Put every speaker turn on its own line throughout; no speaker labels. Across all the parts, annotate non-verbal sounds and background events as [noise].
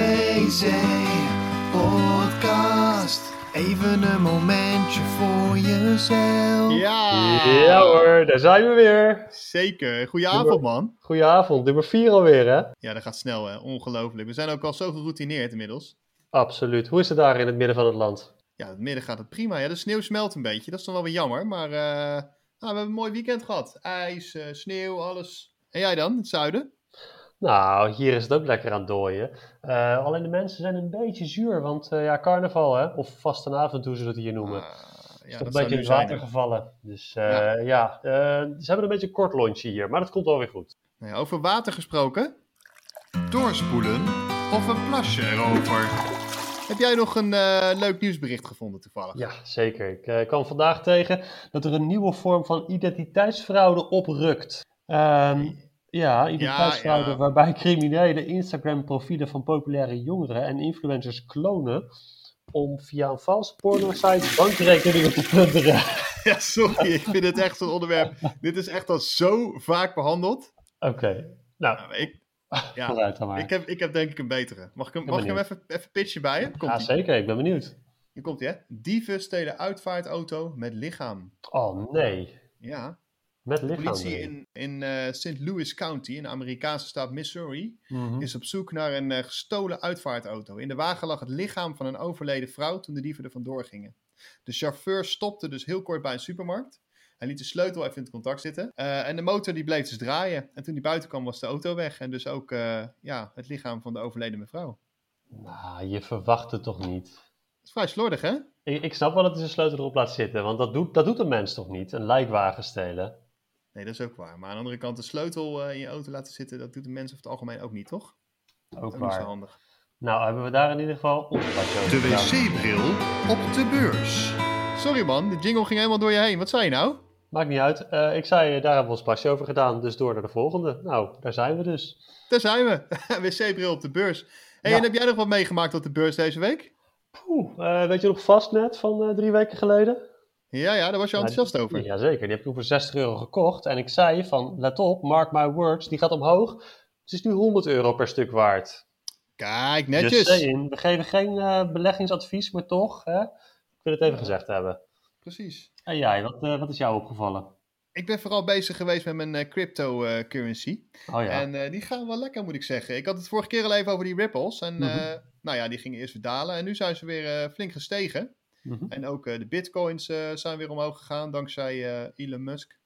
WC Podcast. Even een momentje voor jezelf.
Ja,
Ja hoor, daar zijn we weer.
zeker. Goedenavond, man.
Goedenavond, nummer 4 alweer hè?
Ja, dat gaat snel, hè. Ongelooflijk. We zijn ook al zo geroutineerd inmiddels.
Absoluut. Hoe is het daar in het midden van het land?
Ja, het midden gaat het prima. Ja, de sneeuw smelt een beetje. Dat is dan wel weer jammer. Maar eh, nou, we hebben een mooi weekend gehad. IJs, eh, sneeuw, alles. En jij dan, het zuiden?
Nou, hier is het ook lekker aan het dooien. Eh, alleen de mensen zijn een beetje zuur, want eh, ja, carnaval hè, of vastenavond hoe ze dat hier noemen.
Ah,
is
ja,
toch
zou
een beetje in
nu
het
zijn,
water
hè.
gevallen. Dus eh,
Ja.
ja, eh, ze hebben een beetje een kort lunchje hier, maar dat komt wel weer goed.
Nou ja, over water gesproken. Doorspoelen of een plasje erover? Heb jij nog een eh, leuk nieuwsbericht gevonden toevallig?
Ja, zeker. Ik eh, kwam vandaag tegen dat er een nieuwe vorm van identiteitsfraude oprukt. Ehm, ja, identiteitsfraude
ja.
waarbij criminelen Instagram-profielen van populaire jongeren en influencers klonen om via een valse porno-site bankrekeningen te plunderen.
[laughs]
[laughs]
Ja, sorry, ik vind het echt zo'n onderwerp. Dit is echt al zo vaak behandeld.
Oké, nou,
Nou, ik, ja,
vooruit dan maar.
ik, eh, heb, ik heb denk ik een betere. Mag ik hem, mag ik hem
benieuwd.
even, even pitchen bij je?
ja,
Komt ie.
zeker. Ik ben benieuwd.
Hier komt ie, hè? Dieven stelen uitvaartauto met lichaam.
Oh nee,
Ja,
met
de
lichaam. dus.
politie
erin.
in, in eh, St. Louis County, in de Amerikaanse staat Missouri,
Mhm.
is op zoek naar een eh, gestolen uitvaartauto. In de wagen lag het lichaam van een overleden vrouw toen de dieven er vandoor gingen. De chauffeur stopte dus heel kort bij een supermarkt. Hij liet de sleutel even in het contact zitten. Eh, en de motor die bleef dus draaien. En toen die buiten kwam was de auto weg. En dus ook eh, ja, het lichaam van de overleden mevrouw.
Nou, je verwacht het toch niet?
Dat is vrij slordig hè?
Ik, ik snap wel dat hij zijn sleutel erop laat zitten, want dat doet, dat doet een mens toch niet? Een lijkwagen stelen.
Nee, dat is ook waar. Maar aan de andere kant, de sleutel eh, in je auto laten zitten, dat doet de mens over het algemeen ook niet, toch?
Ook
Dat is niet zo
waar.
handig.
Nou, hebben we daar in ieder geval opgepakt over. gedaan.
wc-bril op de beurs. Sorry man, de jingle ging helemaal door je heen. Wat zei je nou?
Maakt niet uit. Eh, ik zei, eh, daar hebben we ons pasje over gedaan, dus door naar de volgende. Nou, daar zijn we dus.
Daar zijn we. [laughs] Wc-bril op de beurs. Hey,
Ja.
en heb jij nog wat meegemaakt op de beurs deze week?
Oeh, eh, weet je nog Fastnet van eh, drie weken geleden?
Ja, ja, daar was je
Ja,
enthousiast over.
Jazeker, die heb ik toen voor 60 euro gekocht. En ik zei van, let op, mark my words, die gaat omhoog. Het is nu 100 euro per stuk waard.
Kijk,
Just
netjes.
saying. we geven geen eh, beleggingsadvies, maar toch, hè? ik wil het even gezegd hebben.
Precies.
En jij, wat, eh, wat is jou opgevallen?
Ik ben vooral bezig geweest met mijn eh, cryptocurrency.
Oh ja,
En eh, die gaan wel lekker, moet ik zeggen. Ik had het vorige keer al even over die ripples. En
Mhm.
eh, nou ja, die gingen eerst weer dalen. En nu zijn ze weer eh, flink gestegen.
Mhm.
En ook eh, de bitcoins eh, zijn weer omhoog gegaan dankzij eh, Elon Musk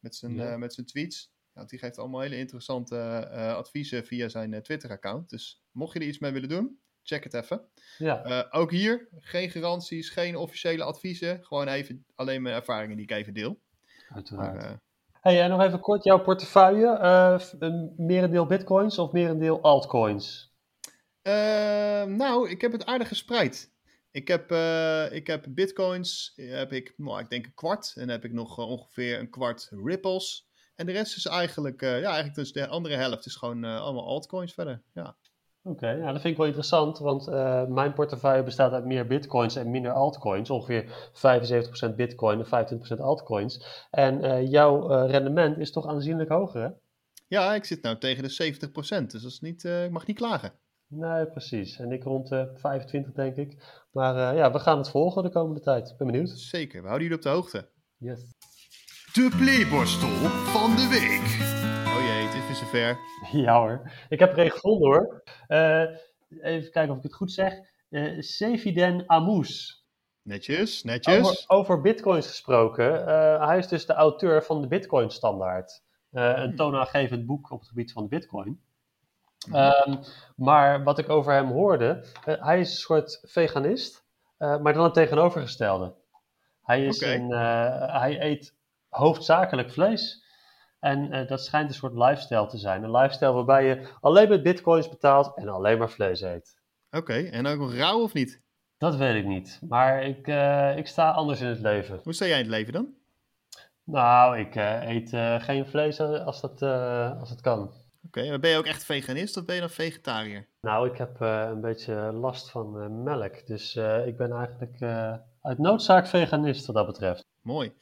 met zijn,
Ja.
eh, met zijn tweets. Ja, want die geeft allemaal hele interessante eh, eh, adviezen via zijn eh, Twitter-account. Dus mocht je er iets mee willen doen, check het even.
ja.
Eh, ook hier, geen garanties, geen officiële adviezen. Gewoon even alleen mijn ervaringen die ik even deel.
uiteraard.
Maar, eh,
Hey, en nog even kort, jouw portefeuille, eh, f- een merendeel bitcoins of merendeel altcoins?
Eh, nou, ik heb het aardig gespreid. Ik heb, eh, ik heb bitcoins, heb ik, nou, ik denk een kwart. En dan heb ik nog eh, ongeveer een kwart ripples. En de rest is eigenlijk, eh, ja, eigenlijk dus de andere helft is gewoon eh, allemaal altcoins verder. Ja.
Oké, nou, dat vind ik wel interessant, want eh, mijn portefeuille bestaat uit meer bitcoins en minder altcoins. Ongeveer 75% bitcoin en 25% altcoins. En eh, jouw eh, rendement is toch aanzienlijk hoger, hè?
ja, ik zit nou tegen de 70%, dus dat is niet, eh, ik mag niet klagen.
Nee, precies. En ik rond eh 25, denk ik. Maar eh, ja, we gaan het volgen de komende tijd. Ik ben benieuwd.
Zeker, we houden jullie op de hoogte.
Yes.
De playborstel van de week. Oh jee, het is weer zover.
[laughs] Ja hoor, ik heb er een gevonden hoor. Eh, even kijken of ik het goed zeg. Eh Seviden Amous.
Netjes, netjes.
Over, over bitcoins gesproken. eh, hij is dus de auteur van de Bitcoin Standaard. Eh, een toonaangevend boek op het gebied van de Bitcoin. Ehm, maar wat ik over hem hoorde, eh, hij is een soort veganist, eh, maar dan het tegenovergestelde. Hij, is
Oké.
een, eh, hij eet hoofdzakelijk vlees. En eh, dat schijnt een soort lifestyle te zijn. Een lifestyle waarbij je alleen met bitcoins betaalt en alleen maar vlees eet.
Oké, en ook nog rauw of niet?
Dat weet ik niet. Maar ik, eh, ik sta anders in het leven.
Hoe sta jij in het leven dan?
Nou, ik eh, eet eh, geen vlees eh, als dat, eh, als dat kan.
Oké, maar ben je ook echt veganist of ben je dan vegetariër?
Nou, ik heb eh, een beetje last van eh, melk. Dus eh, ik ben eigenlijk eh, uit noodzaak veganist wat dat betreft.
Mooi.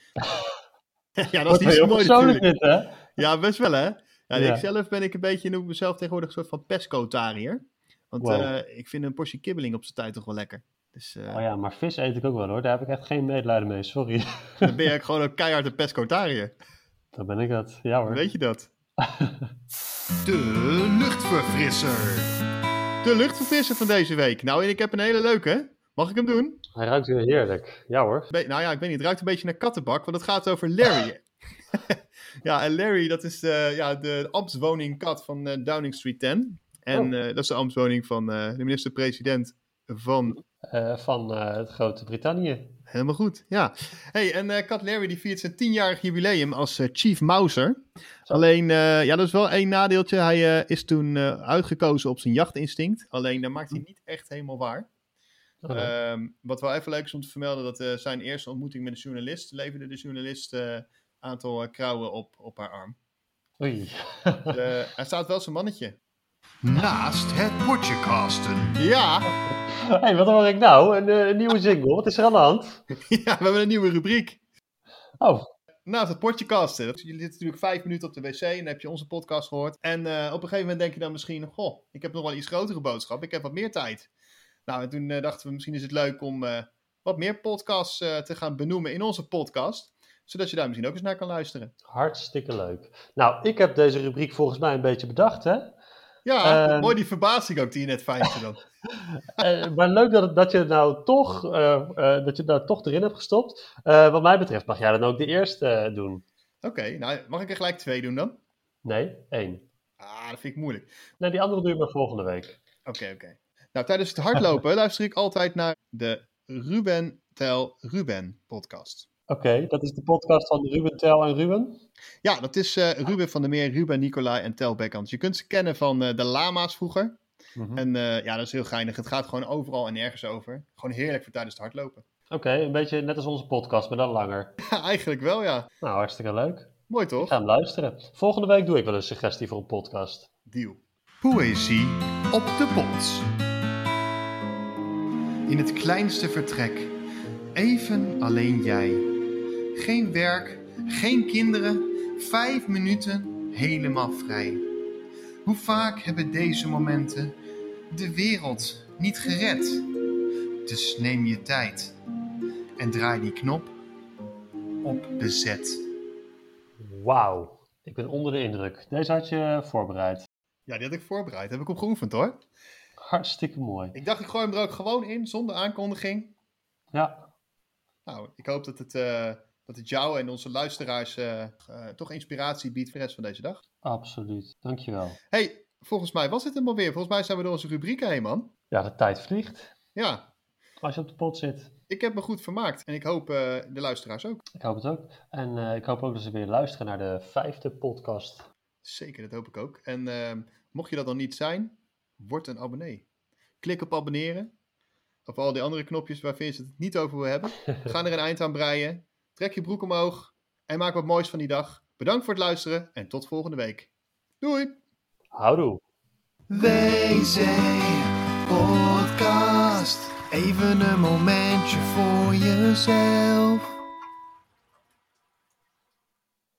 [laughs] ja, dat is niet zo
heel
mooi
persoonlijk
natuurlijk.
dit, hè?
Ja, best wel hè. Ja,
Ja.
Ik zelf ben ik een beetje, noem ik mezelf tegenwoordig een soort van pescotariër. Want Want
Wow.
eh, ik vind een portie kibbeling op zijn tijd toch wel lekker. Dus eh,
Oh ja, maar vis eet ik ook wel hoor. Daar heb ik echt geen medelijden mee, sorry. [laughs]
dan ben je gewoon een keiharde pescotariër.
Dan ben ik dat. Ja hoor.
Weet je
[laughs]
dat? De luchtverfrisser. De luchtverfrisser van deze week. Nou, en ik heb een hele leuke. Mag ik hem doen?
Hij ruikt weer heerlijk. Ja hoor.
Be- nou ja, ik weet niet. Het ruikt een beetje naar kattenbak, want het gaat over Larry. ja, en Larry, dat is eh, ja, de ambtswoning kat van eh, Downing Street 10. En
Oh.
eh, dat is de ambtswoning van eh, de minister-president van...
Eh, van eh, het grote Brittannië.
Helemaal goed, ja. hey, en eh, kat Larry die viert zijn 10-jarig jubileum als eh, Chief Mouser. Alleen, eh, ja, dat is wel één nadeeltje. Hij eh, is toen eh, uitgekozen op zijn jachtinstinct. Alleen, dat maakt hij niet echt helemaal waar.
Oh,
Ehm, wat wel even leuk is om te vermelden, dat eh, zijn eerste ontmoeting met een journalist leverde de journalist eh, een aantal eh, krauwen op, op haar arm.
Oei.
Eh, hij staat wel zijn mannetje.
Naast het potje casten.
Ja, [laughs]
Hé, hey, wat hoor ik nou? Een, eh, een nieuwe jingle. Wat is er aan de hand?
ja, we hebben een nieuwe rubriek.
Oh,
Naast het potje kasten. Je zit natuurlijk vijf minuten op de wc en dan heb je onze podcast gehoord. En eh, op een gegeven moment denk je dan misschien, goh, ik heb nog wel een iets grotere boodschap. Ik heb wat meer tijd. Nou, en toen eh, dachten we, misschien is het leuk om eh, wat meer podcasts eh, te gaan benoemen in onze podcast. Zodat je daar misschien ook eens naar kan luisteren.
hartstikke leuk. Nou, ik heb deze rubriek volgens mij een beetje bedacht, hè?
Ja,
Ehm.
mooi die verbazing ook die je net fijnste dan.
Eh, maar leuk dat, dat je het nou toch, eh, eh, dat je het nou toch erin hebt gestopt. Eh, wat mij betreft mag jij dan ook de eerste eh, doen.
Oké, nou mag ik er gelijk twee doen dan?
Nee, één.
Ah, dat vind ik moeilijk.
Nee, die andere doe je maar volgende week.
Oké, oké. Nou, tijdens het hardlopen luister ik altijd naar de Ruben Tel Ruben podcast.
Oké, dat is de podcast van Ruben Tel en Ruben.
Ja, dat is eh, Ruben van der Meer, Ruben Nicolai en Tel Bekkans. Je kunt ze kennen van eh, de lama's vroeger.
Mhm.
En eh, ja, dat is heel geinig. Het gaat gewoon overal en nergens over. Gewoon heerlijk voor tijdens het hardlopen. [laughs]
Oké, een beetje net als onze podcast, maar dan langer.
Ja, eigenlijk wel, ja.
Nou, hartstikke leuk.
Mooi toch?
Ga hem luisteren. Volgende week doe ik wel een suggestie voor een podcast.
Deal.
Poëzie op de pot. In het kleinste vertrek. Even alleen jij. Geen werk, geen kinderen. Vijf minuten helemaal vrij. Hoe vaak hebben deze momenten de wereld niet gered? Dus neem je tijd en draai die knop op bezet.
Wauw, ik ben onder de indruk. Deze had je eh, voorbereid.
Ja, die had ik voorbereid. Heb ik op geoefend hoor.
Hartstikke mooi.
Ik dacht, ik gooi hem er ook gewoon in, zonder aankondiging.
Ja,
Nou, ik hoop dat het, eh, dat het jou en onze luisteraars eh, eh, toch inspiratie biedt voor de rest van deze dag.
absoluut. Dankjewel.
hey, volgens mij was het hem alweer. Volgens mij zijn we door onze rubrieken heen, man.
Ja, de tijd vliegt
Ja,
als je op de pot zit.
ik heb me goed vermaakt. En ik hoop eh, de luisteraars ook.
Ik hoop het ook. En eh, ik hoop ook dat ze weer luisteren naar de vijfde podcast.
Zeker, dat hoop ik ook. En ehm, mocht je dat dan niet zijn, word een abonnee. Klik op abonneren. Op al die andere knopjes waarvan je het niet over wil hebben. Ga er een eind aan breien. Trek je broek omhoog. En maak wat moois van die dag. Bedankt voor het luisteren en tot volgende week. Doei!
Houdoe.
WC Podcast. Even een momentje voor jezelf.